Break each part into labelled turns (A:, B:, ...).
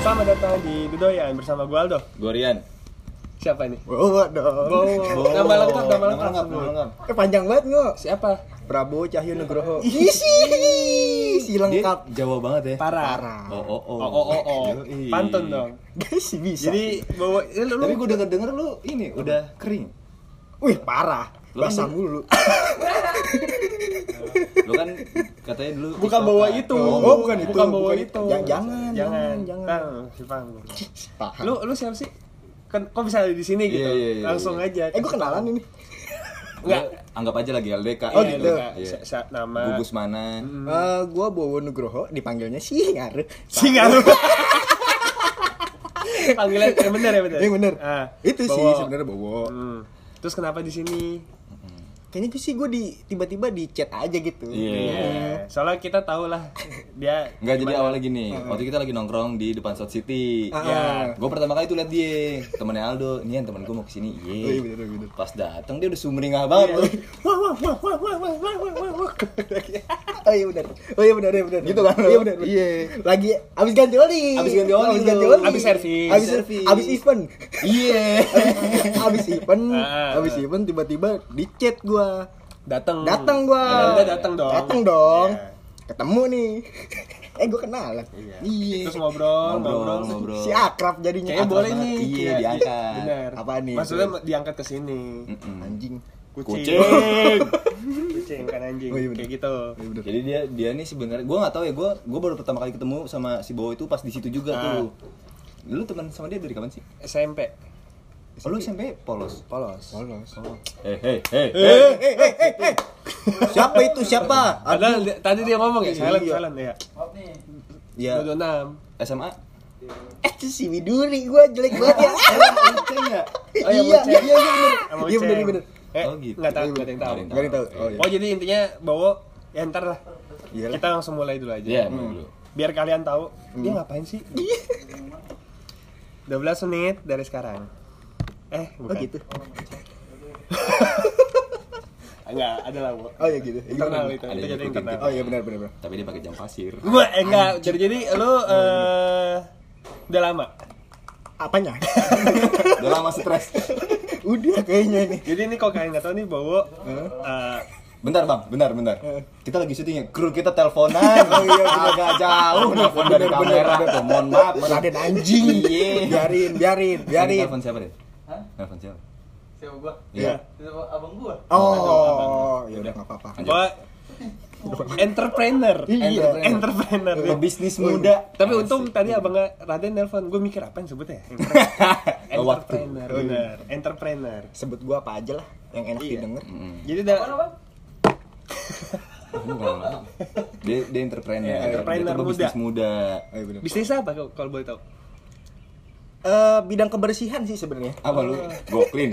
A: Selamat datang di Dudoyan bersama gue Aldo.
B: Gorian.
A: Siapa nih?
C: Oh, enggak dong.
A: Bowo. Nama lengkap, nama
B: Nama
A: lengkap.
B: lengkap, nama lengkap.
C: Eh, panjang banget nggak?
A: Siapa?
C: Prabowo Cahyo Nugroho. Isi, si
B: Dia
C: lengkap.
B: Jawa banget ya.
A: Parah.
C: Parah.
B: Oh oh oh.
A: Oh oh oh oh.
B: Yoi.
A: Pantun dong.
C: Guys, bisa.
A: Jadi bawa eh, lu,
B: Tapi
A: lu
B: gue denger denger lu ini udah kering.
C: wih parah.
B: Lo kan
C: Basah
B: dulu-
C: mulu.
B: Lu kan katanya dulu
A: bukan
B: TikTokan.
A: kan bawa itu.
C: Oh, bukan itu,
A: Bukan bawa
C: bukan
A: itu.
C: itu. Jangan, jangan,
A: jangan.
C: jangan.
A: Tang, si Pang.
C: Paham.
A: Lu lu siapa sih? Kan kok bisa ada di sini
B: Iya,
A: gitu?
B: iya, iya,
A: Langsung
B: iya.
A: aja.
C: eh, gue kenalan ini.
B: Ya,
A: Enggak.
B: anggap aja lagi LDK.
C: Oh,
A: Iya,
C: gitu.
A: enggak.
B: Iya.
A: Sa- Hmm. sa- Nama.
B: Gugus mana?
C: Eh, gue Bowo Nugroho, dipanggilnya si ngaruh.
A: Singaru. Panggilan yang benar ya benar.
C: Eh, bener.
A: Ah,
C: Itu sih
A: bawa.
C: sebenarnya Bowo.
A: Hmm. Terus kenapa di sini?
C: Kayaknya gue sih gue di tiba-tiba di chat aja gitu.
B: Iya.
A: Iya. Soalnya kita tahu lah dia gimana.
B: Enggak jadi
A: Hmm. Iya.
B: awalnya gini. Waktu kita lagi nongkrong di depan South City.
C: Ah.
B: Ya, gue pertama kali tuh liat dia, temennya Aldo. Nian temen gue mau kesini.
C: Oh,
B: Iya.
C: iya, bener, bener.
B: Pas datang dia udah sumringah banget. lu.
C: Wah wah wah wah wah wah wah wah wah wah. Oh iya benar. Oh iya benar, iya benar. Gitu kan? Iya benar. Iya. Lagi abis ganti oli.
B: Abis ganti oli
C: Abis ganti
B: lu.
C: oli.
A: Abis servis.
C: Abis
B: Servis.
C: servis. Abis event.
B: Iya.
C: abis event.
A: Ah. Hmm.
C: Abis event tiba-tiba di chat gua.
A: datang
C: Datang gua.
A: Anda datang dong
C: Datang dong.
A: Iya.
C: Ketemu nih. Eh gua kenalan.
A: Iya.
C: Iya.
A: terus ngobrol ngobrol,
B: Ngobrol, ngobrol.
C: Si akrab jadinya.
A: kayaknya
C: Akrab
A: boleh
C: banget.
A: nih
B: Iya,
A: kayak-
B: diangkat.
A: benar
C: Apaan nih? Hmm,
A: maksudnya diangkat ke sini Hmm.
B: Mm-mm.
C: Anjing.
A: kucing
B: Kucing.
A: kucing kan anjing
C: Oh, iya benar.
A: kayak gitu
C: Iya benar.
B: Jadi dia dia nih sebenarnya gue nggak tahu ya gue gue baru pertama kali ketemu sama si Bowo itu pas di situ juga
A: Ah.
B: tuh. Lu teman sama dia dari kapan sih?
A: SMP
B: Oh, lu SMP polos.
A: polos
C: Polos.
B: Eh hey hey.
C: Eh, eh, eh, eh, eh. Siapa itu? Siapa?
A: padahal dia- tadi dia ngomong ya
C: Iya.
A: silent silent ya
B: Ya
A: 26
B: SMA.
C: Eh itu si Widuri gua jelek banget ya.
A: Oh, yang
C: iya,
A: bocah.
C: iya, iya, bener.
A: Sama
C: Iya bener,
A: Uceng.
C: bener.
A: eh
B: Oh, gitu.
A: nggak tahu nggak ada yang
B: Nggak
A: tahu
B: ada yang
C: Gak ada yang tahu. Oh iya.
A: oh jadi intinya bawa ya ntar lah
C: Iyalah. Hmm.
A: kita langsung mulai dulu aja
B: Iya, emang dulu.
A: biar kalian tahu dia ngapain sih 12 menit dari sekarang eh
C: Oh
A: bukan
C: gitu.
A: enggak Ah, ada lah bu
C: Oh iya gitu. Ya, gimana?
A: internal itu itu
B: Ada yang
A: jadi
B: ikutin
A: internal
C: Oh iya benar benar benar.
B: Tapi dia pakai jam pasir.
A: Gua, eh, enggak jadi jadi
C: Oh,
A: lu
C: iya.
A: eh, udah lama
C: Apanya?
B: Udah lama stres.
C: Udah kayaknya ini.
A: jadi ini kok kalian nggak tahu nih eh, bawa
B: Bentar bang, bentar bentar. Kita lagi syuting ya. Kru kita teleponan.
C: Oh, iya, bener.
B: Agak jauh nelfon dari
C: Bener, bener,
B: kamera.
C: bener.
B: tuh. Mohon maaf.
C: Raden anjing.
B: Iya.
C: Biarin, biarin, biarin.
B: Telepon siapa deh? Telepon siapa?
D: Siapa gua?
B: Iya.
D: Siapa abang gua?
C: Oh, ya udah enggak apa-apa.
A: bahwa entrepreneur
C: Iya.
A: entrepreneur
B: Pebisnis muda.
A: tapi untung tadi abang Raden nelpon gue mikir apa yang sebutnya
B: Oh, waktu. Iya.
A: entrepreneur bener entrepreneur
C: Sebut gua apa aja lah yang enak
A: Iya.
C: didengar.
B: Mm-mm.
A: jadi
D: Mana
A: udah
D: bang?
B: Ini bukan lama. Dia dia entrepreneur.
A: Iya, entrepreneur
B: dia tuh pebisnis muda.
C: Oh iya benar.
A: bisnis apa kalau- kalau boleh tahu
C: Eh bidang kebersihan sih sebenarnya.
B: Apa lu? Go clean.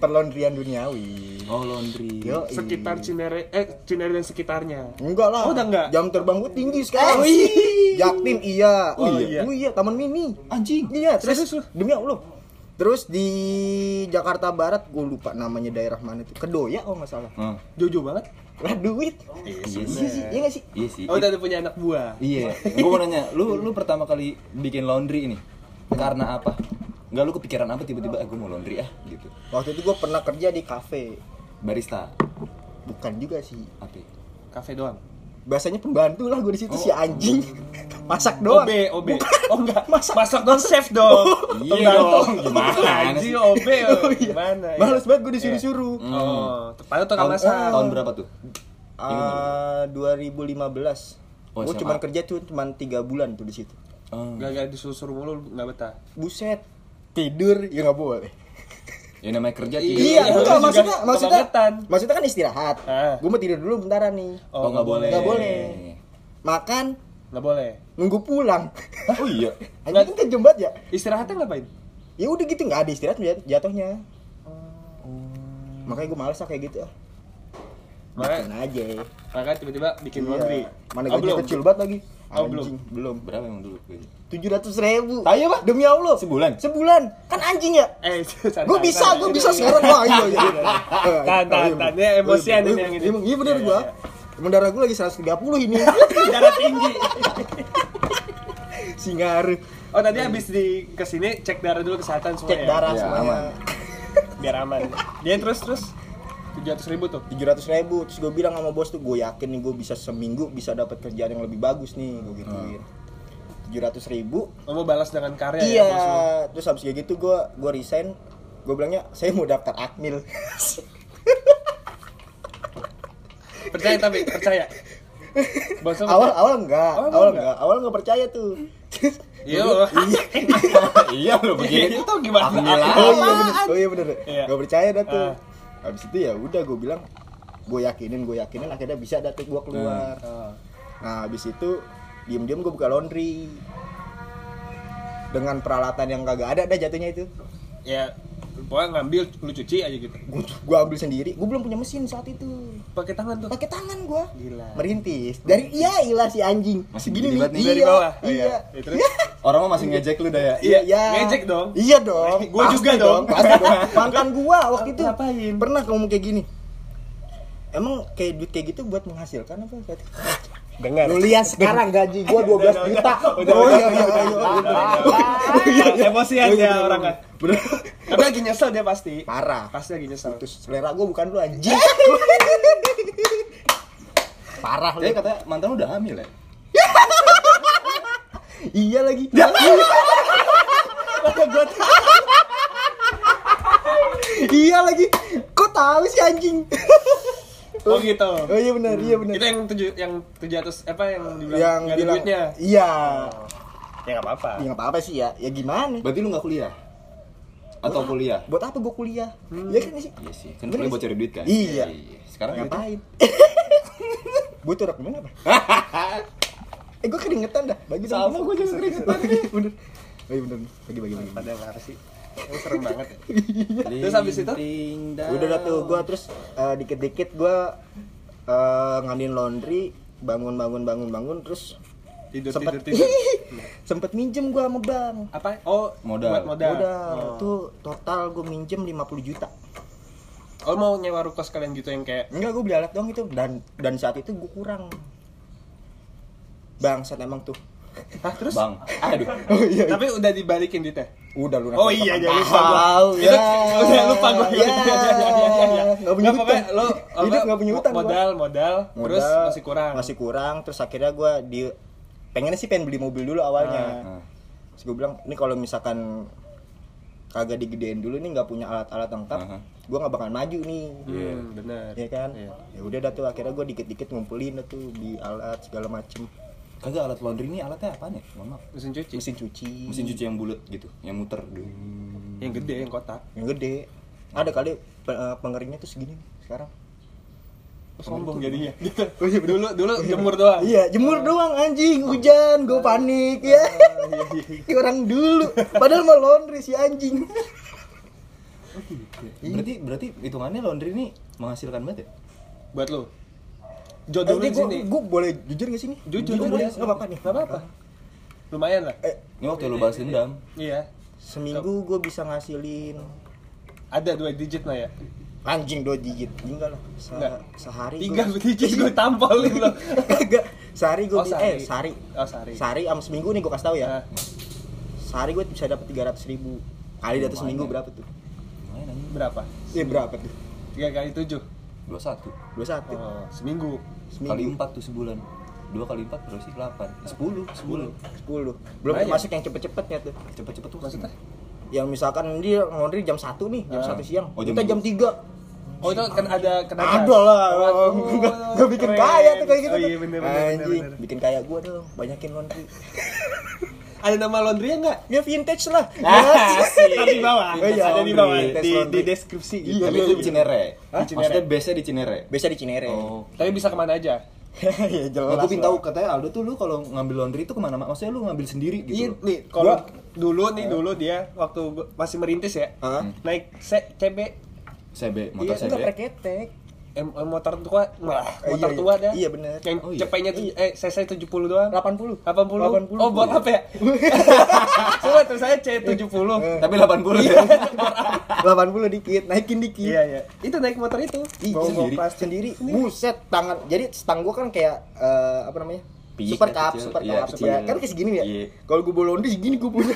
C: Perlaundryan duniawi.
B: Oh laundry.
C: Yo.
A: sekitar Cinere eh Cinere dan sekitarnya.
C: Enggak lah.
A: Oh, udah enggak?
C: Jam terbang gue tinggi sekarang.
A: Oh, iya.
C: Jaktim iya.
A: Oh,
C: Oh,
A: iya.
C: iya. Oh, iya, Taman Mini.
B: Anjing.
C: Iya, terus,
A: Terus, terus.
C: demi Allah. Terus di Jakarta Barat gue lupa namanya daerah mana itu. Kedoya kalau nggak salah.
B: Hah,
A: Jojo banget.
C: Lah duit.
B: Iya sih.
C: Iya sih, iya nggak sih?
B: Iya sih.
A: Oh, udah ada punya anak buah.
B: Iya. Gue mau nanya, lu lu pertama kali bikin laundry ini karena apa? Enggak lu kepikiran apa tiba-tiba eh, gue mau laundry ah gitu.
C: Waktu itu gue pernah kerja di kafe.
B: Barista.
C: Bukan juga sih.
B: Apa? ya?
A: Kafe doang.
C: Biasanya pembantu lah gue di situ
B: Oh.
C: si anjing. Masak doang.
A: OB, OB. Oh enggak, masak, masak doang chef dong. Pembantu.
B: Iya dong, gimana
A: Anjing
B: sih?
A: OB.
C: Oh, iya.
A: Gimana? ya?
C: Males banget gue disuruh-suruh.
B: Hmm.
A: Oh, tepat tukang
B: Tahun,
A: masak.
B: tahun berapa tuh?
C: Ah, 2015.
B: Oh,
C: gue
B: SMA.
C: cuma kerja tuh cuma 3 bulan tuh di situ.
B: Oh.
A: Gak disuruh-suruh mulu enggak betah.
C: Buset. Tidur ya nggak boleh.
B: Ya namanya kerja
A: Iya,
C: Iya,
B: tidur.
C: enggak
A: juga
C: maksudnya maksudnya
A: kebangetan.
C: maksudnya kan istirahat.
A: Ah.
C: Gue mau tidur dulu bentaran nih.
B: Oh, nggak boleh.
C: Nggak boleh. Makan,
A: Enggak boleh.
C: nunggu pulang.
B: Oh iya.
C: Anjing kan kejem banget ya.
A: Istirahatnya ngapain?
C: Ya udah gitu nggak ada istirahat jat- jatuhnya.
A: Oh.
C: Makanya gue males lah kayak gitu. ah. Bikin
A: Makanya,
C: aja.
A: makanya tiba-tiba bikin
C: Iya.
A: laundry.
C: Mana
A: Oh,
C: gajinya
A: belum?
C: kecil banget lagi.
A: Oh, belum.
C: belum.
B: Berapa emang dulu? gaji?
C: Tujuh ratus ribu.
B: Tai apa?
C: Demi Allah.
B: Sebulan?
C: Sebulan. Kan anjing ya.
A: Eh, santai,
C: Gue bisa,
A: santai.
C: gue bisa sekarang. Wah, iya iya. iya. Eh,
A: Tahan,
C: iya,
A: tahan,
C: iya.
A: tahan. Ini emosian ini
C: Iya,
A: yang ini.
C: Emang iya bener gua. Emang darah gua lagi 130 ini.
A: Darah tinggi.
C: Singaru.
A: Oh tadi habis di kesini cek darah dulu kesehatan semua
C: Cek
A: ya?
C: darah
B: Iya,
C: semuanya.
B: aman.
A: biar aman. Dia terus terus tujuh ratus ribu tuh.
C: 700 ribu terus gue bilang sama bos tuh gue yakin nih gue bisa seminggu bisa dapat kerjaan yang lebih bagus nih gue
A: Hmm.
C: gituin 700 ribu
A: Lo mau balas dengan karya
C: iya
A: ya? bos lo?
C: terus habis kayak gitu gue gue resign gue bilangnya saya mau daftar akmil
A: Percaya tapi percaya. Bos lo
C: awal
A: percaya?
C: awal enggak
A: Awal
C: awal
A: enggak?
C: enggak awal enggak percaya tuh
A: Iya.
C: Gua bilang, iya
B: iya lo begitu.
A: Itu gimana?
B: Alhamdulillah.
C: oh iya bener oh iya bener
A: Iya.
C: gak percaya dah tuh
A: Ah.
C: habis itu ya udah gue bilang gue yakinin gue yakinin akhirnya bisa dah tuh gue keluar
A: Ah.
C: nah habis itu diem diem gue buka laundry dengan peralatan yang kagak ada dah jatuhnya itu
A: ya pokoknya ngambil lu cuci aja gitu.
C: gue gua ambil sendiri gue belum punya mesin saat itu
A: Pakai tangan tuh.
C: pakai tangan gua
A: Gila.
C: merintis dari iya ilah si anjing
B: Masih gini
C: Segini
B: banget nih.
C: iya,
A: Dari bawah.
C: iya iya
A: Ya, terus?
B: Orang mah masih ngejek lu dah
A: Iya,
B: ya.
A: ngejek dong.
C: Iya dong.
A: Gua
C: Pasti
A: juga dong.
C: Pasti dong. Mantan gua waktu itu.
A: Ngapain?
C: Pernah kamu kayak gini. Emang kayak duit kayak gitu buat menghasilkan apa?
A: Dengar.
C: Lu lihat sekarang gaji gua 12 juta.
A: udah,
C: Oh
A: udah,
C: iya iya iya.
A: Emosian
C: Iya,
A: ya
C: bener,
A: orang kan.
C: bener. Bener.
A: Tapi lagi nyesel dia pasti.
C: Parah.
A: Pasti lagi nyesel.
C: Terus selera gua bukan lu anjing. Parah lu.
B: Tapi katanya mantan lu udah hamil ya.
C: Iya lagi. iya lagi. Kok tahu sih anjing?
A: Oh gitu.
C: Oh iya benar, iya benar.
A: Itu yang tujuh yang tujuh ratus apa yang dibilang
C: Yang
A: nggak ada
C: bilang
A: duitnya.
C: iya.
A: Ya nggak apa-apa.
C: Ya enggak apa-apa sih ya. Ya gimana?
B: Berarti lu nggak kuliah? Atau kuliah?
C: Buat apa gua kuliah? Ya kan sih.
B: Iya sih. Kan kuliah buat cari duit kan?
C: Iya.
B: Sekarang duitnya-
C: Ngapain? Butuh rekening apa? eh gua keringetan dah. Bagi
B: Sama, gua juga keringetan
C: nih. Bener. Oh iya bener. Bagi bagi bagi.
A: Pada nggak sih? Emang serem banget. ya.
B: Linting
A: Terus habis itu?
B: down.
C: udah dah tuh gue terus eh, dikit-dikit gue eh, ngambilin laundry bangun bangun bangun bangun terus
A: Tidur
C: sempet
A: tidur tidur.
C: sempet minjem gue sama bank
A: Apa? Oh
B: Modal.
A: buat modal.
C: modal
A: Oh.
C: tuh total gue minjem 50 juta
A: Oh mau nyewa ruko sekalian gitu yang kayak
C: enggak gue beli alat doang itu dan dan saat itu gue kurang bangsat emang tuh
A: Hah terus?
B: Bang. Aduh.
C: oh iya
A: Tapi udah dibalikin duitnya?
C: udah lu
A: Oh iya, jangan lupa gua.
C: tahu
A: Itu- Iya, udah lupa gua.
C: ya
A: Ya, ya, ya, ya, ya.
C: Iya. nggak punya
A: Nggak pokoknya
C: utang
A: lo
C: hidup nggak punya utang gua.
A: modal, modal, terus
C: Modal,
A: masih kurang.
C: masih kurang terus akhirnya gue di pengennya sih pengen beli mobil dulu awalnya
A: Ah.
B: Nah.
C: terus gue bilang ini kalau misalkan kagak digedein dulu nih nggak punya alat-alat lengkap
B: Aha.
C: gue nggak bakal maju nih
A: Hmm, bener.
C: ya kan
A: Iya.
C: ya udah dah tuh akhirnya gue dikit-dikit ngumpulin dah tuh di alat segala macem
B: Kagak alat laundry ini alatnya apa nih? Mohon maaf.
A: Mesin cuci.
C: mesin cuci
B: Mesin cuci yang bulat gitu, yang muter. Duh.
A: Yang gede, yang kotak.
C: yang gede ada kali pe- eh, pengeringnya tuh segini sekarang
A: Oh, sombong jadinya. Gitu. Dulu dulu jemur doang. Ah.
C: iya jemur doang anjing hujan gue panik ya
A: iya,
C: Kayak orang dulu padahal mau laundry si anjing
A: Iya.
B: Berarti berarti hitungannya laundry ini menghasilkan banget ya?
A: Buat lo. Jodoh lu di
C: Eh, gue
A: sini.
C: boleh jujur gak sini?
A: Jujur,
C: Jujur
A: boleh.
C: boleh, nggak apa-apa nih.
A: Nggak apa-apa. Lumayan lah.
C: Eh,
B: Ini waktu lu balas dendam.
A: Iya.
C: seminggu gue bisa ngasilin
A: Ada dua digit lah ya.
C: anjing dua digit, enggak lah. Se-
A: Nggak.
C: Sehari.
A: Tiga digit gue tampolin lo.
C: Enggak, sehari gue
A: Oh,
C: bisa
A: sehari.
C: eh sehari.
A: Oh, sehari.
C: Sehari sama seminggu nih gue kasih tahu ya.
A: Nah,
C: Sehari gue bisa dapat 300 ribu kali data
B: Lumayan.
C: seminggu
A: ya.
C: berapa tuh?
B: Lumayan anjing.
A: berapa?
C: Iya berapa tuh?
A: Tiga kali tujuh.
B: 21
C: Dua satu.
A: Oh, seminggu.
B: kali
C: Seminggu
B: 4 tuh sebulan. 2 kali 4 berapa sih? 8. 10, 10.
C: sepuluh. Belum
A: Lumayan.
C: termasuk yang cepet-cepetnya tuh.
B: Cepet-cepet tuh
A: Maksudnya?
C: Yang misalkan dia laundry jam 1 nih, jam
A: Ah.
C: 1 siang.
B: Oh, jam
C: kita jam 3
A: Oh itu kan ada kenapa?
C: Ada lah,
A: Oh,
C: nggak nggak bikin
A: keren.
C: kaya tuh kayak gitu.
A: Oh iya
C: tuh.
A: bener bener, bener,
C: Anjing,
A: bener.
C: bikin kaya gua dong, banyakin laundry.
A: Ada nama laundrynya nggak?
C: Ya vintage lah.
A: Ntar di bawah.
C: Oh iya,
A: Ah, ada di bawah
C: laundry,
A: di,
C: laundry.
A: di deskripsi gitu.
C: Iya,
B: Tapi
C: iya,
B: itu di
C: iya.
B: Cinere.
C: Hah?
B: Maksudnya base-nya di Cinere.
C: Biasa di Cinere.
B: Oh.
A: Tapi bisa kemana aja.
C: ya jelas.
B: Aku pin
C: lah.
B: tahu katanya Aldo tuh lu kalau ngambil laundry itu kemana? Maksudnya lu ngambil sendiri
A: Iya
B: gitu. loh.
A: nih kalau dulu nih dulu dia waktu gua masih merintis ya
C: Hah?
A: naik se CB
B: CB,
C: Iya,
B: motor
C: enggak
B: CB.
C: preketek.
A: em, em, motor tua wah,
C: Eh,
A: motor
C: iya,
A: tua
C: iya.
A: dah
C: Iya, bener.
A: yang
B: Oh, iya.
A: cepetnya tuj- eh cc 70 doang
C: 80.
A: 80 oh buat apa ya
C: Iya.
A: coba terus saya c 70
B: Tapi 80 ya.
C: 80 dikit, naikin dikit.
A: iya iya itu naik motor itu
C: Ih,
B: Bawa- bawa
C: sendiri.
B: plastik.
C: sendiri. Buset, tangan. Jadi stang gua kan kayak eh, apa namanya?
B: Piik
C: super
B: ya,
C: cup,
B: kecil.
C: super cup,
B: Iya,
C: super
B: kecil.
C: cup. Kan kayak segini ya.
B: Iya.
C: Kalau gue bawa laundry segini gue punya.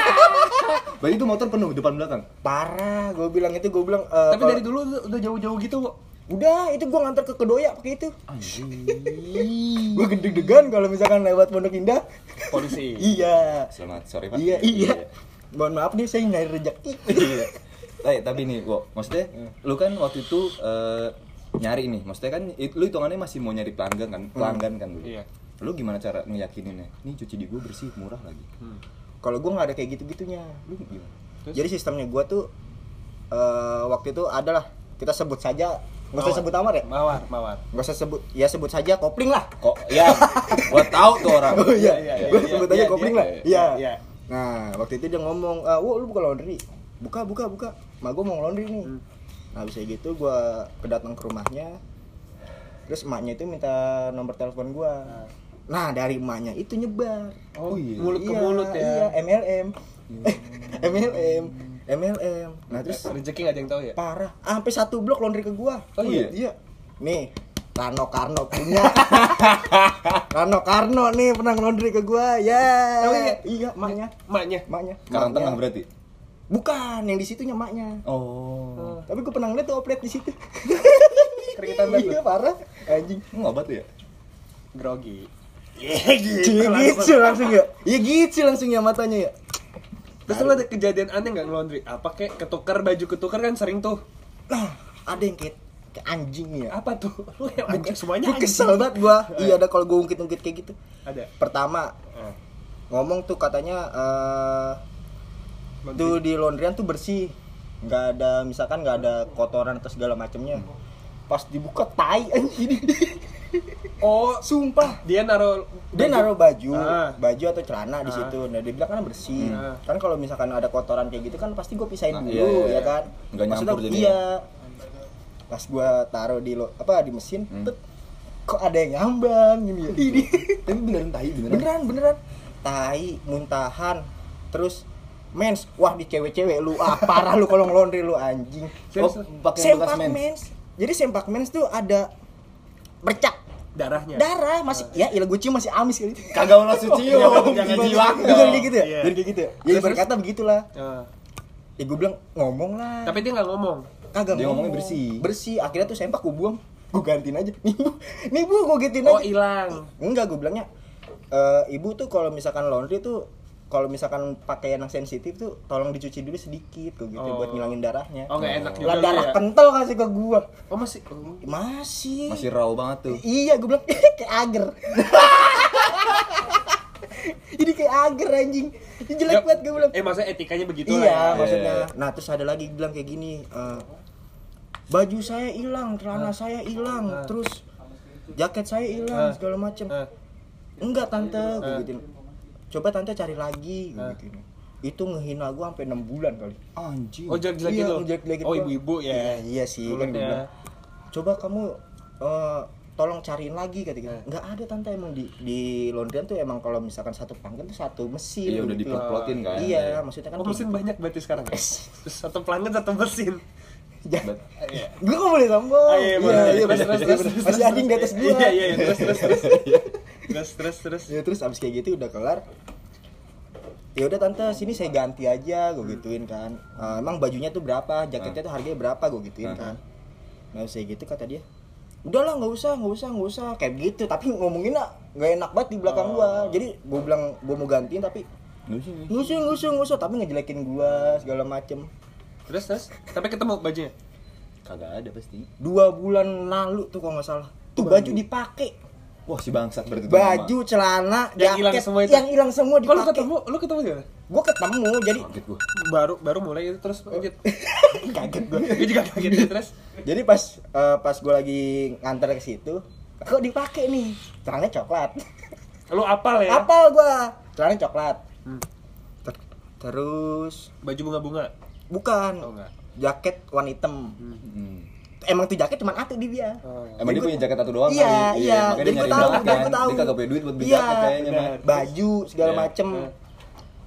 B: Berarti itu motor penuh depan belakang.
C: Parah, gue bilang itu gue bilang. eh,
A: Tapi
C: kalau-
A: dari dulu udah- udah jauh-jauh gitu kok.
C: Udah, itu gua nganter ke Kedoya pakai itu. gua gede-degan kalau misalkan lewat Pondok Indah.
A: Polisi.
C: iya.
B: Selamat sore, Pak.
A: ya,
C: Iya, iya. Mohon maaf nih saya nyari rejeki.
B: Iya. Eh, tapi nih, kok maksudnya lu kan waktu itu eh, nyari nih. Maksudnya kan it- lu hitungannya masih mau nyari pelanggan kan, pelanggan kan dulu.
A: Iya.
B: Lu gimana cara ngeyakininnya? Ini cuci di gua bersih, murah lagi.
C: kalau gua nggak ada kayak gitu-gitunya.
B: Lu gimana?
A: Terus?
C: Jadi sistemnya gua tuh eh, waktu itu adalah kita sebut saja nggak usah sebut amar ya
A: Mawar, mawar.
C: nggak usah sebut ya sebut saja kopling lah
B: Kok ya, gua tahu tuh orang.
C: oh iya,
A: Iya, iya,
C: gua
A: iya,
C: sebut
A: iya,
C: aja
A: iya,
C: kopling
A: iya,
C: lah
A: iya,
C: iya
A: iya.
C: nah waktu itu dia ngomong "Ah, wow lu buka laundry buka buka buka ma gua mau laundry nih
A: Hmm.
C: nah bisa gitu gua kedatang ke rumahnya terus emaknya itu minta nomor telepon gua nah dari emaknya itu nyebar
A: Hmm. Oh, iya.
C: mulut ke mulut ya iya MLM
A: Hmm.
C: MLM MLM nah terus
A: Terus rezeki nggak ada yang tahu ya?
C: parah sampai satu blok laundry ke gua
B: Oh, iya?
C: iya nih Rano Karno punya Rano Karno nih pernah laundry ke gua ya
A: Oh, iya?
C: iya maknya
A: Maknya.
C: maknya
B: Karang
C: Maknya.
B: tengah berarti.
C: bukan yang di situnya maknya
B: Oh.
C: tapi gua pernah ngeliat tuh oplet di situ
A: Keringetan banget.
C: iya parah anjing
B: Lu ngobat lu ya?
A: Grogi.
C: Iya gitu langsung ya iya gitu langsung ya matanya ya
A: Terus lu ada kejadian aneh nggak ngelondri? Apa kayak ketukar baju ketukar kan sering tuh?
C: nah ada yang kayak kayak anjing ya
A: Apa tuh? Lu yang anjing semuanya
C: gua
A: anjing.
C: kesel banget gua iya ada kalau gua ungkit-ungkit kayak gitu
A: Ada.
C: pertama
A: Eh,
C: ngomong tuh katanya eh
A: laundry.
C: tuh di laundryan tuh bersih nggak ada misalkan nggak ada kotoran atau segala macamnya pas dibuka tai anjing
A: Oh,
C: sumpah
A: dia naro
C: dia naruh baju
A: Ah.
C: baju atau celana di
A: Ah.
C: situ nah dia bilang kan bersih
A: Hmm.
C: kan kalau misalkan ada kotoran kayak gitu kan pasti gue pisahin
B: Nah,
C: dulu
B: Ah. iya, iya,
C: ya
B: iya.
C: kan
B: Nggak nyampur jadi
C: iya pas gue taruh di lo apa di mesin
B: Hmm.
C: tet, kok ada yang ngambang gini ya ini
B: Tapi beneran tai beneran.
C: beneran beneran tai muntahan terus mens wah di cewek-cewek lu ah parah lu kalau ngelondri lu anjing
B: Oh, pakai bekas
C: sempak
B: men.
C: mens jadi sempak mens tuh ada bercak
A: darahnya.
C: darah masih ya ilah gue cium masih amis kali
B: Kagak orang suci.
C: Iya,
A: jangan jiwak.
C: jangan kayak gitu ya
A: Iya.
C: jangan kayak gitu ya ya
A: Terus,
C: berkata begitulah
A: Eh,
C: ya gue bilang ngomong lah
A: tapi dia nggak ngomong.
C: kagak
B: Dia ngomongnya bersih.
C: bersih akhirnya tuh sempak gue buang gue gantiin aja nih bu nih bu gue gantiin
A: Oh,
C: aja
A: hilang.
C: Enggak, gue bilangnya eh, ibu tuh kalau misalkan laundry tuh kalau misalkan pakaian yang sensitif tuh tolong dicuci dulu sedikit kok gitu
A: Oh.
C: buat ngilangin darahnya.
A: Oh, nggak enak juga.
C: lah
A: lu
C: darah
A: ya.
C: kental kasih ke gua.
A: Oh, masih.
C: Masih.
B: Masih raw banget tuh.
C: Iya, gue bilang kayak ager. Ini kayak ager anjing. Ini jelek banget gue bilang.
A: Eh, maksudnya etikanya begitu
C: iya,
A: lah. ya.
C: maksudnya.
B: Iya.
C: Nah, terus ada lagi bilang kayak gini, eh, baju saya hilang, celana saya hilang, terus jaket saya hilang,
A: Ah.
C: segala macem.
A: Eh,
C: enggak tante gue
A: Eh.
C: gituin. coba tante cari lagi gue
A: Eh.
C: gituin. itu ngehina gue sampai 6 bulan kali
B: Anjing.
A: Oh, jelek-jelekin
C: Iya,
A: lo.
C: ngejelek-jelekin
A: Oh,
C: gua.
A: ibu-ibu
C: iya,
A: ya.
C: iya sih
A: Mulutnya.
C: kan gua bilang, coba kamu eh, tolong cariin lagi kata gitu
A: Eh.
C: nggak ada tante emang di di London tuh emang kalau misalkan satu pangkat tuh satu mesin
B: Iya udah
C: gitu.
B: diplot-plotin kan.
C: iya maksudnya kan
A: Oh, mesin banyak berarti sekarang. ya? Terus satu pelanggan satu mesin.
B: Bet-
A: Iya.
C: gue kok boleh sombong
A: Ah, iya, boleh.
C: iya,
A: Terus,
C: bener,
A: terus,
C: iya,
A: terus,
C: bener.
A: terus,
C: masih
A: terus.
C: anjing di atas gue
A: Iya, iya, iya, terus, terus, terus. Terus, terus, terus.
C: ya terus abis kayak gitu udah kelar ya udah tante sini saya ganti aja gue gituin kan "Eh, emang bajunya tuh berapa jaketnya tuh harganya berapa gue gituin
B: Hmm.
C: kan nah saya gitu kata dia udahlah nggak usah nggak usah nggak usah kayak gitu tapi ngomonginnya nggak enak banget di belakang gua
A: Oh.
C: jadi gue bilang gue mau gantiin tapi
B: Lu sih.
C: nggak usah nggak usah nggak usah tapi ngejelekin gua segala macem
A: Terus, terus. Tapi ketemu bajunya.
B: Kagak ada pasti.
C: dua bulan lalu tuh kalau nggak salah tuh baju dipakai
B: Wah, si bangsat berarti tuh nama.
C: baju celana
A: Yang hilang
C: jaket
A: semua itu?
C: Ya, yang hilang semua
A: Kok lu
C: dipakai
A: ketemu? Lu ketemu gimana?
C: gue ketemu jadi
B: Kaget gua.
A: Baru baru mulai itu terus
C: Oh.
A: lanjut.
C: kaget gue
A: Gue juga kaget terus.
C: jadi pas eh, pas gue lagi nganter ke situ kok dipakai nih celananya coklat
A: Lu apal ya?
C: apal gue celananya coklat
A: Hmm.
C: Ter- terus
A: Baju bunga-bunga.
C: bukan
A: Oh enggak.
C: jaket warna hitam
B: Hmm.
C: emang tuh jaket cuma satu di dia
A: Oh, iya.
B: Emang dia punya jaket satu doang
C: Iya,
B: kali.
C: iya.
B: Makanya
C: Jadi
B: dia
C: gua
B: nyari
C: tahu,
B: banget
C: dan
B: kan.
C: gua tahu.
B: Dia kagak punya duit buat beli
C: Iya,
B: jaket kayaknya,
A: benar.
B: mah.
C: baju segala
B: Iya.
C: macem
A: Iya.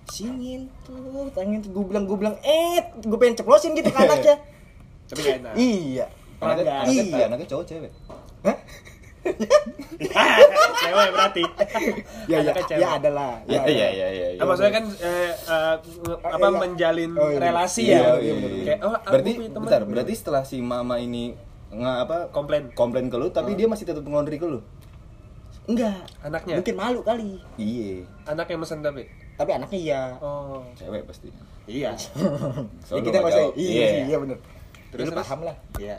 C: singin tuh tangan gue bilang gue bilang eh gue pengen ceplosin gitu ke anaknya
A: Tapi gak enak.
C: iya
A: Ah,
B: Anaknya,
C: Iya.
B: anaknya, anaknya cowok cewek.
C: Hah?
E: cewek berarti.
C: ya ya
E: Anaknya cewek.
C: ya ada lah
B: Iya
C: ada.
B: iya iya iya.
A: Nah, maksudnya kan eh, eh, apa
C: Eh, iya.
A: menjalin
C: Oh, iya.
A: relasi
B: Iya,
A: ya.
B: iya, iya.
A: Kayak oh, aku
B: berarti
A: punya teman.
B: bentar, berarti setelah si mama ini nggak apa
A: Komplain.
B: komplain ke lu tapi
A: Oh.
B: dia masih tetap ngondri ke lu.
C: enggak
A: Anaknya?
C: mungkin malu kali
B: Iya,
A: Anak yang mesen tapi.
C: tapi anaknya iya
A: Oh.
B: cewek pasti.
C: iya ya
B: Soalnya
C: kita nggak
B: nggak
C: usah
B: jauh.
C: iya
B: Iya.
C: sih iya bener
A: Terus,
C: terus
A: terus?
C: paham lah iya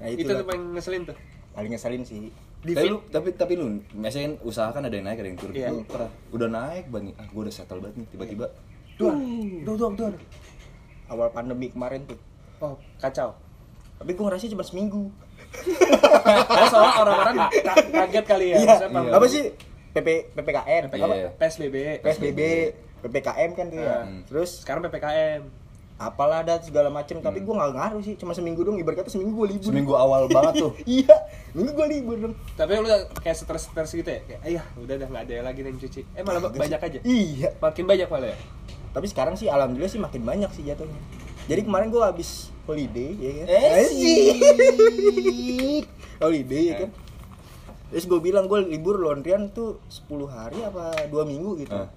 C: nah
A: Itu,
C: itu,
A: tuh
C: lah.
A: paling ngeselin tuh.
C: paling ngeselin sih
A: Di
B: tapi
A: fit-
B: lu, tapi tapi lu biasanya kan usaha kan ada yang naik ada yang turun.
A: Iya.
B: Lu pernah udah naik banget nih. Ah, gua udah settle banget nih tiba-tiba.
A: Duh, duh, duh, duh.
C: awal pandemi kemarin tuh
A: Oh, kacau.
C: tapi gue ngerasa cuma seminggu
A: Nah, soalnya orang-orang ka- kaget kali ya.
C: iya
A: Maksudnya,
B: Iya.
C: apa sih PP PPKN apa
B: Iya.
A: PSBB.
C: PSBB PPKM kan tuh ya
A: Hmm.
C: terus
A: Sekarang PPKM.
C: apalah ada segala macem tapi gue nggak ngaruh sih cuma seminggu dong ibarat kata seminggu gue libur
B: Hmm. Seminggu awal banget tuh.
C: iya minggu gue libur dong
A: Tapi lu kayak stres-stres gitu ya? Kayak, ayah udah dah nggak ada yang lagi nih yang cuci. Eh malah banyak aja.
C: iya
A: Makin banyak malah ya?
C: tapi sekarang sih alhamdulillah sih makin banyak sih jatuhnya jadi kemarin gue habis holiday ya kan
B: Eh,
C: Asik. holiday ya kan terus gue bilang gue libur laundryan tuh 10 hari apa dua minggu gitu
B: Ah.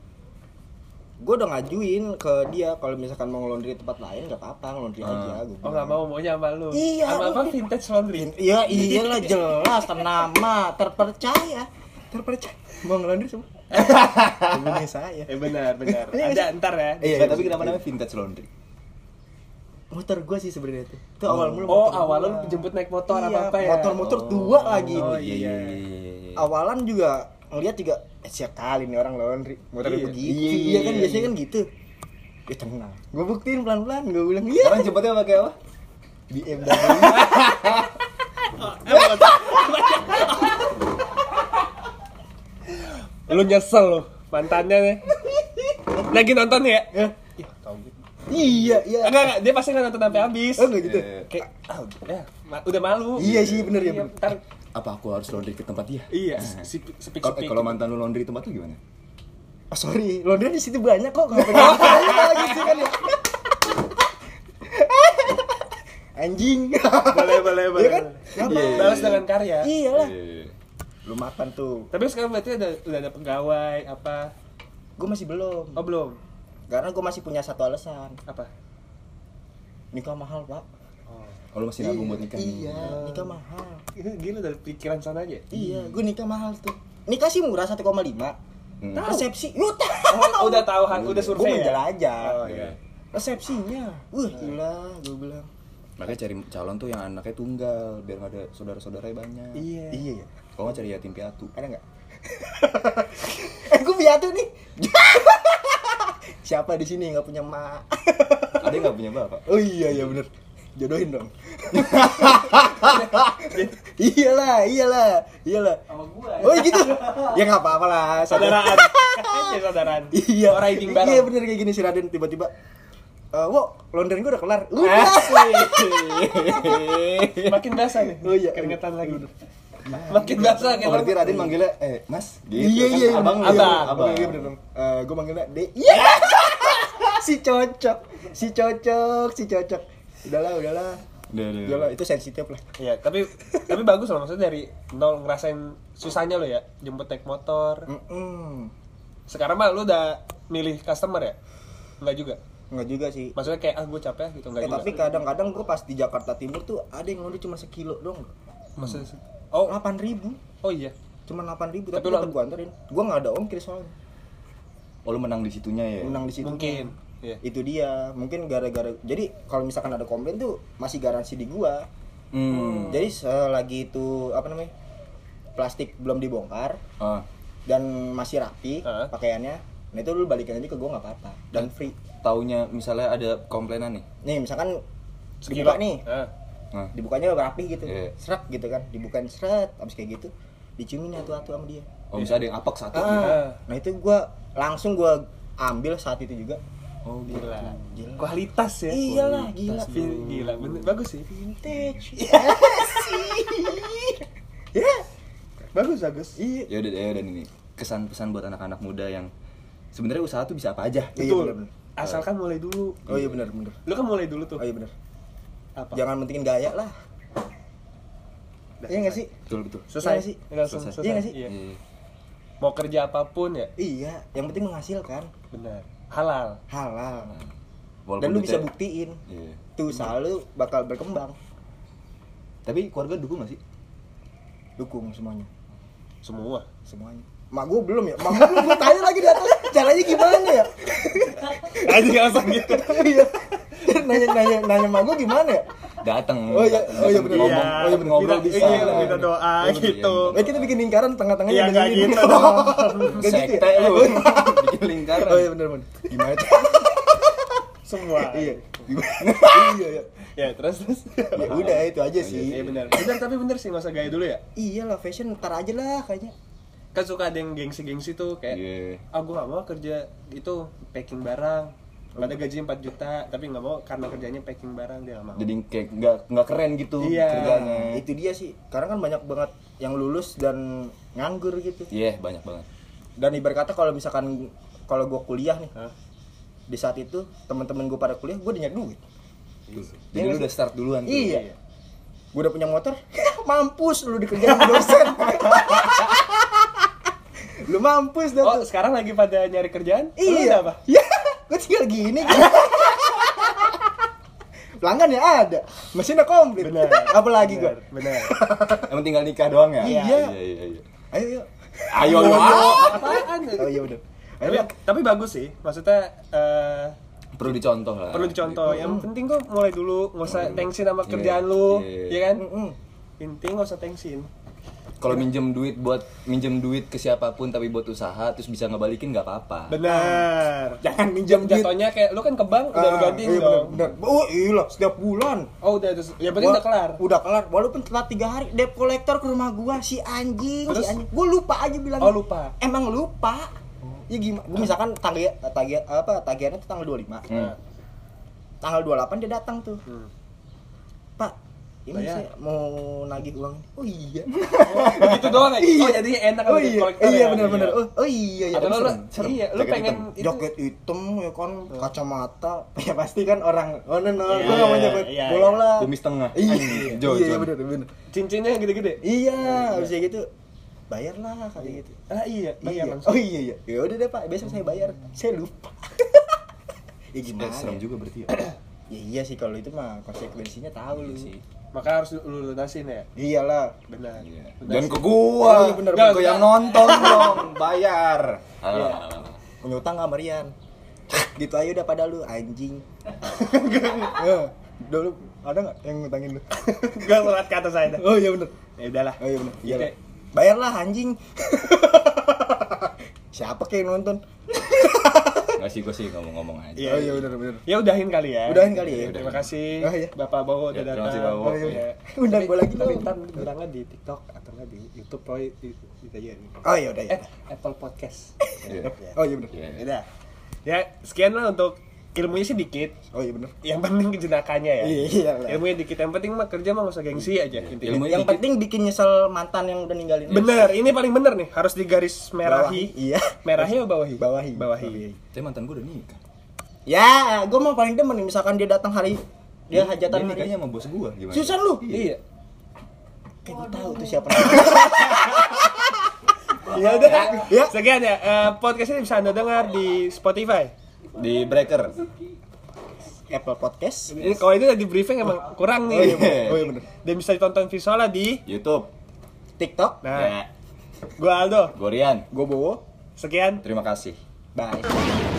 C: gue udah ngajuin ke dia kalau misalkan mau laundry tempat lain gak apa-apa laundry aja gue
A: Oh nggak mau maunya sama lu.
C: Iya,
A: Sama apa
C: lu-
A: vintage laundry?
C: Iya iyalah jelas ternama terpercaya terpercaya mau ngelandir semua Temennya saya
A: Eh benar benar.
C: Iya,
A: Ada ntar ya.
C: Iya,
B: Nah,
C: iya.
B: tapi kenapa namanya vintage laundry?
C: motor gua sih sebenarnya tuh itu awal mulu
A: Oh
C: motor
A: awalnya
C: gua.
A: lu jemput naik motor
C: Iya,
A: apa apa ya?
C: motor-motor tua lagi
A: Oh,
C: nih.
A: iya.
C: awalan juga ngeliat juga eh, siap kali nih orang laundry motor
A: Iya.
C: begitu
B: Iya,
C: iya,
B: iya,
C: kan
B: iya.
C: biasanya kan gitu ya tenang gua buktiin pelan-pelan gua bilang iya
B: Sekarang jemputnya pakai apa?
C: BMW
A: Lu nyesel lu mantannya nih. Lagi nonton ya?
C: Ya. iya iya
A: Enggak enggak dia pasti nggak nonton sampai habis.
C: oh enggak gitu
B: Iya.
A: Kayak ah, ya, ma- udah malu.
C: iya sih bener ya
A: Iya,
C: bener. Nah,
A: ntar
B: Apa aku harus laundry ke tempat dia?
A: iya sepik sepik.
B: Kalau eh, kalau mantan lu laundry tempat lu gimana?
C: Oh sorry, laundry di situ banyak kok. Kenapa nggak banyak lagi sih kan ya? Anjing.
A: boleh boleh boleh.
C: Iya kan? Kenapa?
A: Iya. Balas dengan karya.
C: Iyalah.
B: Eh,
C: Lu makan tuh.
A: Tapi sekarang berarti ada udah ada pegawai apa?
C: Gue masih belum.
A: Oh belum.
C: Karena gue masih punya satu alasan.
A: Apa?
C: Nikah mahal, Pak.
B: Oh, lu masih nabung buat nikah.
C: Iya,
A: Hmm.
C: nikah mahal.
A: Ini gila dari pikiran sana aja.
C: Iya, gue nikah mahal tuh. Nikah sih murah 1,5.
B: Hmm.
C: Resepsi, lu
A: Oh, udah tahu Han, udah
C: Gue
A: survei ya.
C: menjelajah.
A: Oh, iya.
C: Resepsinya, wah gila, gue bilang.
B: Makanya cari calon tuh yang anaknya tunggal biar gak ada saudara-saudaranya banyak.
A: Iya.
C: Iya ya.
B: Kalau nggak cari yatim piatu.
C: ada nggak? eh gue piatu nih. Siapa di sini nggak punya emak?
B: Ada yang nggak punya bapak?
C: oh iya iya bener. Jodohin dong. iyalah iyalah iyalah.
D: sama gua ya.
C: Oh iya gitu. Ya nggak apa-apa lah. Saudara.
A: Saudaraan. Iya saudaraan.
C: Iya.
A: Oh, riding bareng.
C: Iya bener kayak gini si Raden tiba-tiba. Eh, wo, laundry gue udah kelar. Udah.
A: Asik. Makin basah nih.
C: Oh iya.
A: Keringetan lagi. Makin basah
B: Oh, berarti
A: kayaknya.
B: Raden manggilnya eh Mas gitu.
C: Iya
B: kan?
C: iya
B: abang.
C: iya,
B: gitu.
A: abang.
B: abang.
C: Iya bener dong. Eh, gue manggilnya D. Iya. si cocok, si cocok, si cocok. Udahlah udahlah.
B: Udah, udah.
C: Udahlah itu sensitif lah.
A: Iya, tapi tapi bagus loh maksudnya dari nol ngerasain susahnya lo ya jemput naik motor.
C: Mm-mm.
A: Sekarang mah lu udah milih customer ya? Enggak juga.
C: Nggak juga sih.
A: Maksudnya kayak ah gue capek gitu enggak
C: Eh,
A: juga.
C: tapi kadang-kadang gue pas di Jakarta Timur tuh ada yang ngondek cuma sekilo dong.
A: maksudnya Oh,
C: Delapan ribu,
A: oh iya.
C: cuma delapan ribu.
A: Tapi
C: Tapi,
A: lu-
C: tetep gue anterin. Gue nggak ada ongkir soalnya.
B: Oh, lu menang di situnya ya.
C: Menang di situ.
A: Mungkin. Iya.
C: Itu dia. Mungkin gara-gara. Jadi kalau misalkan ada komplain tuh masih garansi di gua.
B: Hmm.
C: Jadi selagi itu apa namanya plastik belum dibongkar
B: Ah.
C: dan masih rapi
A: Heeh.
C: pakaiannya, nah itu lu balikin aja ke gua nggak apa-apa dan
A: Hmm.
C: free.
B: Taunya misalnya ada komplainan nih.
C: Nih misalkan
A: Sekilo.
C: dibuka nih,
A: Ah.
B: Nah,
C: dibukanya rapi gitu,
B: Iya.
C: seret gitu kan, dibukain seret, abis kayak gitu diciumin satu-satu sama dia.
B: oh, misalnya ada yang apak satu. gitu.
C: Ah, nah itu gua langsung gua ambil saat itu juga.
B: Oh, gitu.
A: Gila.
C: Gila.
A: Kualitas ya.
C: Iyalah gila.
A: Feel- Gila, bener. bagus sih.
C: Vintage. Ya sih. Ya.
A: Bagus, bagus.
C: Iya.
B: Ya udah, ya udah ini. Kesan-pesan buat anak-anak muda yang sebenarnya usaha tuh bisa apa aja.
C: Iya,
A: Betul.
C: bener-bener.
A: Asalkan mulai dulu.
C: Oh iya benar benar.
A: Lu kan mulai dulu tuh.
C: Oh iya benar.
A: Apa?
C: Jangan mentingin gaya lah. Iya nggak sih?
B: Betul, betul.
A: Selesai
C: Iya sih.
A: Langsung
B: Selesai.
A: selesai.
C: Iya nggak sih?
B: Iya.
A: mau kerja apapun ya
C: Iya, yang penting menghasilkan
A: benar halal
C: halal.
B: Walaupun
C: Dan lu bisa
B: duitnya-
C: buktiin.
B: Iya.
C: Tuh usaha lu bakal berkembang.
B: Tapi keluarga dukung gak sih?
C: Dukung semuanya.
A: semua
C: Semuanya. Mak gua belum ya. Mak gua belum gua tanya lagi di atas caranya gimana ya?
A: aja nggak usah gitu
C: Iya. nanya nanya nanya mak gua gimana ya?
B: Datang.
C: Oh iya,
B: datang,
C: oh iya
B: datang,
C: bener.
A: Iya,
B: Ngomong, oh iya bener, ngobrol
A: kita-
B: bisa.
A: iya, kita doa
B: Iya, bener,
A: gitu.
B: iya,
C: Eh
B: bener.
C: kita bikin lingkaran tengah-tengahnya
A: Iya, nggak
C: dengerin.
A: gitu dong.
C: Nggak gitu
B: Sekte
C: ya?
B: lu. Bikin lingkaran.
C: Oh iya benar benar. Gimana?
A: semua
C: iya. Iya iya.
A: ya terus terus
C: Ya udah itu aja
A: iya
C: sih.
A: benar benar tapi benar sih masa gaya dulu ya
C: Iya lah fashion ntar aja lah kayaknya.
A: kan suka ada yang gengsi-gengsi tuh kayak
B: Iya.
A: ah gue gak mau kerja itu packing barang
C: Oh.
A: pada gaji 4 juta tapi nggak mau karena kerjanya packing barang dia gak mau
B: Jadi kayak nggak nggak keren gitu
A: Iya.
B: kerjanya.
C: Nah, itu dia sih. Karena kan banyak banget yang lulus dan nganggur gitu.
B: Iya banyak banget.
C: Dan ibarat kata kalau misalkan kalau gua kuliah nih,
A: Hah?
C: di saat itu teman-teman gua pada kuliah, gua udah nyari duit.
B: Jadi lu udah start duluan tuh.
C: Iya. Gua udah punya motor, mampus lu dikerjain dosen. lu mampus dah
A: oh
C: tuh.
A: sekarang lagi pada nyari kerjaan Lu udah
C: Iya.
A: apa
C: Ya, gue tinggal gini. Pelanggan ya ada, mesinnya komplit.
A: Benar.
C: Apalagi gue.
A: benar benar
B: Emang tinggal nikah doang ya?
C: Iya.
B: iya, iya.
C: Ayo, ayo.
B: Ayo lu. ah.
A: apaan
C: Oh iya udah. Ayo,
A: tapi,
C: Bang.
A: tapi bagus sih maksudnya eh,
B: Perlu dicontoh lah.
A: perlu
C: iya.
A: dicontoh yang penting tuh mulai dulu nggak usah tensin sama
B: Iya.
A: kerjaan lu
B: Iya.
A: ya kan
C: Mm-mm.
A: intinya nggak usah tensin
C: Iya.
B: Kalau minjem duit buat minjem duit ke siapapun tapi buat usaha terus bisa ngebalikin nggak apa-apa.
A: benar
C: Jangan minjam duit.
A: jatuhnya kayak lu kan ke bank udah lu
C: Ah,
A: gantiin
C: iya,
A: dong
C: benar, benar. Oh iya lah, setiap bulan.
A: oh udah terus ya berarti
C: Wah,
A: udah kelar
C: Udah kelar. Walaupun telat tiga hari, debt collector ke rumah gua si anjing,
A: Terus?
C: si anjing. Gua lupa aja bilang.
A: Oh, lupa. Oh.
C: Emang lupa. Ya gimana? Gua misalkan tagih tagih apa tagihannya itu tanggal 25.
B: Hmm.
C: Tanggal 28 dia datang tuh.
A: Hmm. Oh, iya.
C: Pak, ini
A: Bayar.
C: saya mau nagih uang. Oh iya.
A: Oh, begitu doang ya? Oh, jadi enak
C: Oh
A: sama
C: iya.
A: kolektor
C: Iya
A: ya?
C: benar-benar. Oh, oh iya ya.
A: Atau
C: Kan
A: lu,
C: serem.
A: iya, lu
B: Jaket
A: pengen itu Hmm.
C: Jaket hitam ya kan, kacamata. Ya pasti kan orang oh no, no,
A: Iya,
C: gua enggak mau nyebut.
A: iya,
C: Bolong
A: iya.
C: lah.
B: Kumis tengah.
C: Iya,
B: Anjing,
C: iya,
B: John,
C: iya
B: John.
C: benar benar.
A: cincinnya yang gede-gede.
C: Iya, harusnya gitu. Bayarlah kata gitu.
A: Ah iya, bayar
C: iya.
A: langsung.
C: Oh iya iya. Ya udah deh Pak, besok saya bayar. Saya lupa. ya
B: Eh,
C: gimana?
B: serem
C: ya?
B: juga berarti ya.
C: Ya iya sih kalau itu mah konsekuensinya tahu lu.
B: sih.
A: Maka harus lu lunasin ya.
C: Iyalah.
A: Benar.
B: Iya.
A: Benar
B: Jangan
A: sih.
B: ke gua.
C: Oh, iya, bener,
B: Jangan
A: bener.
B: ke yang nonton dong, bayar. Halo,
A: Iya.
B: halo, halo.
C: Punya utang gak Marian? gitu aja udah pada lu anjing. ya, udah lu ada nggak yang ngutangin lu?
A: Gua surat ke atas aja.
C: oh iya bener.
A: Ya udahlah.
C: Oh iya bener. Iya.
A: Oke.
C: Bayarlah anjing. Siapa kayak nonton?
B: Nggak sih gua sih ngomong-ngomong aja.
A: Iya.
C: oh iya bener bener.
A: Ya udahin kali ya.
C: Udahin kali ya.
A: Terima kasih
C: Oh, iya.
A: Bapak Bowo udah
B: Ya,
A: datang.
B: terima kasih, Bapak Bowo.
A: Oh, iya.
B: Iya.
C: Undang
A: Tapi-
C: gua lagi
A: Tapi
C: dong.
A: ntar bilangnya di TikTok atau nggak di YouTube Roy di- di- di- di-
C: Oh iya udah ya.
A: Eh, Apple Podcast.
B: Iya.
C: Oh iya bener.
B: Iya.
A: Ya udah. Ya, sekian lah untuk ilmunya sih dikit.
C: Oh iya bener.
A: Yang penting kejenakannya ya.
C: Iya, iyalah.
A: Ilmunya dikit. Yang penting mah kerja mah nggak usah gengsi aja
B: Iya.
A: intinya.
B: Ilmunya
C: yang
B: dikit.
C: penting bikin nyesel mantan yang udah ninggalin lu.
A: Bener, ini paling bener nih, harus digaris merahi.
C: Bawahi, iya.
A: Merahi atau bawahi?
C: bawahi
A: Bawahi.
B: Tapi mantan gua udah nikah.
C: ya gue mau paling demen nih, misalkan dia datang hari dia hajatan
B: Iya, Dia
C: hari
B: nikahnya sama bos gua gimana?
C: Susan lu
A: Iya.
C: kayak gue tahu tuh siapa
A: Ya udah.
C: Iya.
A: Sekian ya. Eh, podcast ini bisa Anda dengar di Spotify.
B: Di breaker.
C: Apple Podcast
A: Ini kalau itu di briefing emang kurang nih.
B: Oh, iya, bener.
C: oh iya bener
A: Dan bisa ditonton visualnya di
B: YouTube.
C: TikTok
A: Nah,
B: Ya.
A: gua Aldo.
B: Gorian.
C: gue bowo
A: Sekian.
B: Terima kasih.
C: bye